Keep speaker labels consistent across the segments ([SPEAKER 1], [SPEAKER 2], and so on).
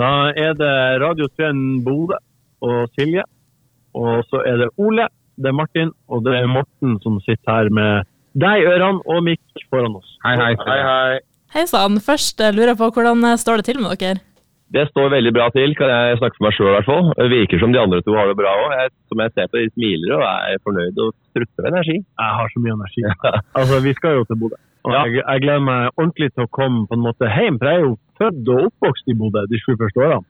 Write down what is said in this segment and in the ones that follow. [SPEAKER 1] Da er det Radio 3 Bodø og Silje. Og så er det Ole, det er Martin, og det er Morten som sitter her med deg i ørene og mikk foran oss.
[SPEAKER 2] Hei, hei.
[SPEAKER 3] Hei, hei.
[SPEAKER 4] Hei sann. Først eh, lurer jeg på hvordan eh, står det til med dere?
[SPEAKER 3] Det står veldig bra til, kan jeg snakke for meg sjøl i hvert fall. Det virker som de andre to har det bra òg. Som jeg ser på, de smiler og er fornøyd og strutter med energi.
[SPEAKER 1] Jeg har så mye energi. Altså, vi skal jo til Bodø. Og
[SPEAKER 3] Ja.
[SPEAKER 1] jeg, jeg gleder meg ordentlig til å komme på en måte hjem, for jeg er jo født og oppvokst i Bodø de sju første årene.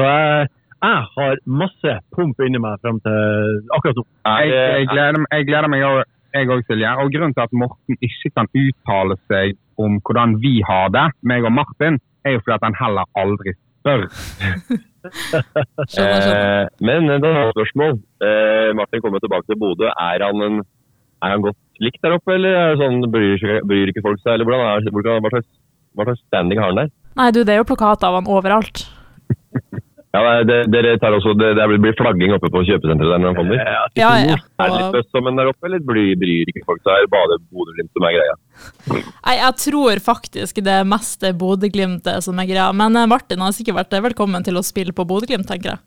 [SPEAKER 1] Så jeg, jeg har masse pump inni meg frem til akkurat nå.
[SPEAKER 2] Jeg,
[SPEAKER 3] Er,
[SPEAKER 2] jeg, gleder, jeg gleder meg også, jeg òg, Silje. Og grunnen til at Morten ikke kan uttale seg om hvordan vi har det, meg og Martin, er jo fordi at han heller aldri spør.
[SPEAKER 4] Skjønner, skjønner.
[SPEAKER 3] Eh, men da har jeg et spørsmål. Eh, Martin kommer tilbake til Bodø. Er han, en, er han godt likt der oppe, eller er det sånn, bryr, ikke- bryr ikke folk seg? Eller hvordan er, hvordan, hva, slags, hva slags standing har han der?
[SPEAKER 4] Nei, du, det er jo plakat av han overalt.
[SPEAKER 3] Ja, nei, det, dere tar også, det, det blir flagging oppe på kjøpesenteret der når han kommer?
[SPEAKER 4] Ja, ja,
[SPEAKER 3] Er det litt
[SPEAKER 4] ja.
[SPEAKER 3] bøss som en der oppe, eller bryr, bryr ikke folk seg? Er det bare Bodø-Glimt som er greia?
[SPEAKER 4] Nei, jeg tror faktisk det meste Bodø-Glimtet som er greia. Men eh, Martin har sikkert vært eh, velkommen til å spille på Bodø-Glimt, tenker jeg.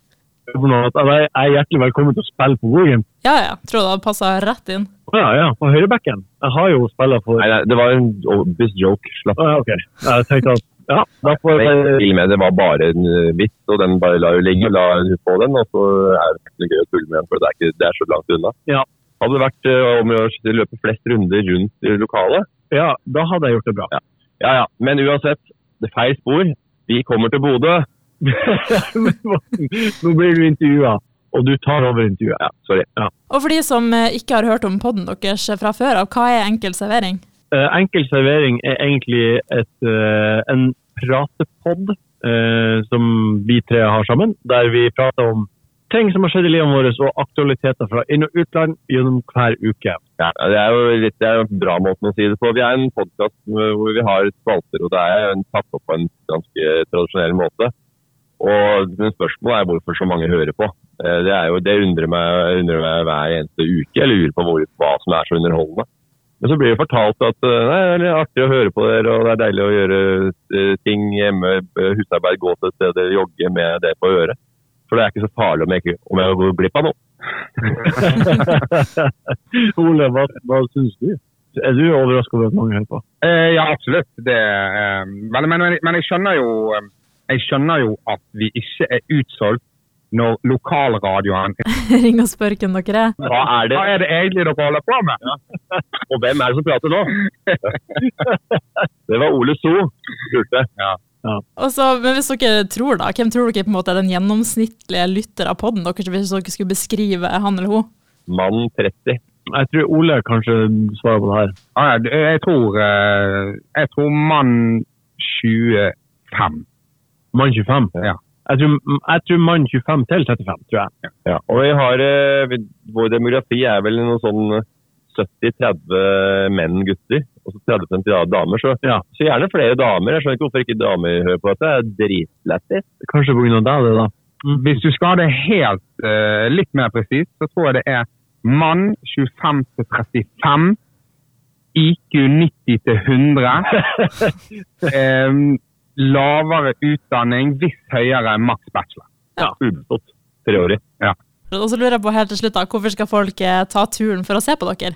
[SPEAKER 1] For noe at Jeg jeg er hjertelig velkommen til å spille på Borgen.
[SPEAKER 4] Ja ja, tror det hadde passa rett inn.
[SPEAKER 1] Ja, ja, på høyrebekken. Jeg har jo spillet for...
[SPEAKER 3] Nei, nei, det var en obvious joke. Slapp
[SPEAKER 1] Å, ja, ok. Jeg tenkte at, ja, da får
[SPEAKER 3] Jeg
[SPEAKER 1] jeg...
[SPEAKER 3] vil med, det var bare en eh, vits, og den bare la jo ligge. La hun på den, og så er det ikke noe gøy å tulle med den, for det er, ikke, det er så langt unna.
[SPEAKER 1] Ja.
[SPEAKER 3] Hadde det vært eh, om å gjøre å løpe flest runder rundt i lokalet?
[SPEAKER 1] Ja, da hadde jeg gjort det bra.
[SPEAKER 3] Ja, ja. Men uansett, det er feil spor. Vi kommer til Bodø.
[SPEAKER 1] Men Morten, Nå blir du intervjuet, og du tar over intervjuet.
[SPEAKER 3] Ja, sorry.
[SPEAKER 4] Og for de som eh, ikke har hørt om podden deres eh, fra før av, hva er enkel servering?
[SPEAKER 1] Eh, enkel servering er egentlig et, eh, en pratepodd eh, som vi tre har sammen, der vi prater om ting som har skjedd i livet vårt og aktualiteter fra inn- og utland gjennom hver uke.
[SPEAKER 3] Ja, det er jo litt det er jo en bra måten å si det på. Vi er en podkast hvor vi har spalter, og det er en tatt opp på en ganske tradisjonell måte. Og men spørsmålet er hvorfor så mange hører på. Eh, Det, er jo, det undrer, meg, undrer meg hver eneste uke. Jeg lurer på hvor, hva som er så underholdende. Men så blir det fortalt at eh, nei, det er artig å høre på dere, og det er deilig å gjøre eh, ting hjemme, eh, husarbeid, gå til et sted, jogge med det på øret. For det er ikke så farlig om jeg, ikke- om jeg går glipp av noe.
[SPEAKER 1] Ole, hva, hva syns du? Er du overrasket over at mange hører på?
[SPEAKER 2] Eh, ja, absolutt. Det, eh, men, men, men jeg skjønner jo eh, jeg skjønner jo at vi ikke er utsolgt når lokalradioen
[SPEAKER 4] Ring og spør hvem dere er.
[SPEAKER 3] Hva er det
[SPEAKER 2] Hva er det egentlig dere holder på med?
[SPEAKER 3] Og hvem er det som prater nå? det var Ole So. Spurte.
[SPEAKER 4] Og så, men hvis dere tror da, hvem tror dere på en måte er den gjennomsnittlige lytter av podden deres, hvis dere skulle beskrive han eller hun?
[SPEAKER 3] Mann 30.
[SPEAKER 1] Jeg tror Ole kanskje svarer på det her.
[SPEAKER 2] Ah, ja, det- jeg tror eh, Jeg tror mann 25.
[SPEAKER 1] Mann 25?
[SPEAKER 2] Ja.
[SPEAKER 1] Jeg tror, jeg tror mann 25 til 35, tror jeg.
[SPEAKER 3] Og vi har, eh, vi- vår demografi er vel noe sånn 70-30 menn gutter, og så 30 da- damer. Så,
[SPEAKER 1] Ja.
[SPEAKER 3] så gjerne flere damer. Jeg skjønner ikke hvorfor ikke damer hører på dette. Det er dritlættis.
[SPEAKER 1] Kanskje på grunn av deg, det da.
[SPEAKER 2] Hvis du skal ha det helt eh, litt mer presist, så tror jeg det er mann 25 til 35. IQ 90 til 100. em, lavere utdanning, hvis høyere, maks bachelor.
[SPEAKER 3] Ubestått. Treårig.
[SPEAKER 4] Og så lurer jeg på helt til slutt da, hvorfor skal folk eh, ta turen for å se på dere?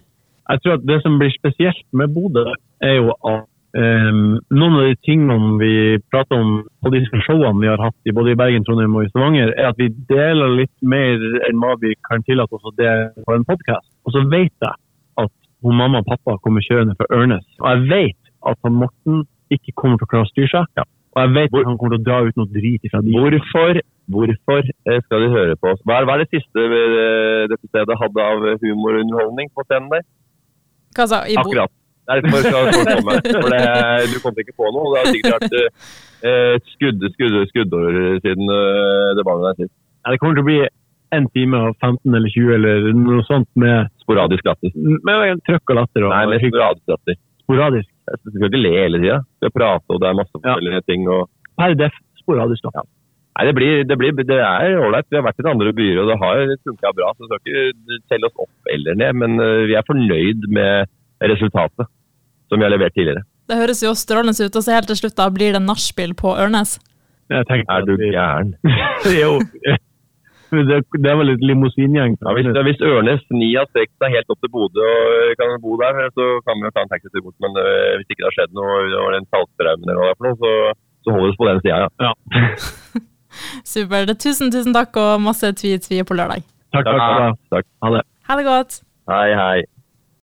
[SPEAKER 1] Jeg tror at det som blir spesielt med Bodø, er jo at em, noen av de tingene vi prater om på de showene vi har hatt i både i Bergen, Trondheim og i Stavanger, er at vi deler litt mer enn hva vi kan tillate oss å dele på en podkast. Og så vet jeg at hun mamma og pappa kommer kjørende fra Ørnes. Og jeg vet at han Morten ikke kommer til å klare å styre seg. Og jeg vet
[SPEAKER 3] Hvor-
[SPEAKER 1] at han kommer til å dra ut noe drit ifra de.
[SPEAKER 3] Hvorfor, hvorfor eh, skal de høre på oss? Hva er, hva er det siste eh, dette stedet hadde av humor og underholdning på scenen der?
[SPEAKER 4] Hva sa i Bo-
[SPEAKER 3] Akkurat. Derfor skal folk komme. For det, du kom ikke på noe. og Det har sikkert vært eh, skudd, skudd, skuddår siden eh, det var der sist.
[SPEAKER 1] Nei, Det kommer til å bli en time og 15 eller 20 eller noe sånt med,
[SPEAKER 3] Sporadisk latter.
[SPEAKER 1] med trøkk og latter. Og
[SPEAKER 3] Nei, men sporadisk latter.
[SPEAKER 1] sporadisk.
[SPEAKER 3] Du skal ikke le hele tida. Du skal prate, og det er masse forskjellige ting. Og...
[SPEAKER 1] per def sporadisk. da.
[SPEAKER 3] Nei, det, blir, det, blir, det er ålreit. Vi har vært i de andre byer, og det har funka bra. Så vi skal ikke telle oss opp eller ned, men eh, vi er fornøyd med resultatet som vi har levert tidligere.
[SPEAKER 4] Det høres jo strålende ut. Og så helt til slutt da blir det nachspiel på Ørnes.
[SPEAKER 1] Jeg tenker
[SPEAKER 3] Er du
[SPEAKER 1] at vi-
[SPEAKER 3] gæren?
[SPEAKER 1] jo. Det, det er vel et limousingjeng.
[SPEAKER 3] Ja, hvis, hvis Ørnes 9 av 6 er helt opp til Bodø og eh, kan bo der, så kan vi jo ta en taxi til bort. Men øh, hvis ikke det har skjedd noe, og den saltstraumen eller hva det er for noe, så, så holder vi oss på den sida, ja.
[SPEAKER 4] Supert. Tusen, tusen takk, og masse tvi-tvi på lørdag.
[SPEAKER 1] Takk, takk,
[SPEAKER 3] Ja,
[SPEAKER 1] takk.
[SPEAKER 3] takk.
[SPEAKER 1] Ha det.
[SPEAKER 4] Ha det godt.
[SPEAKER 3] Hei, hei.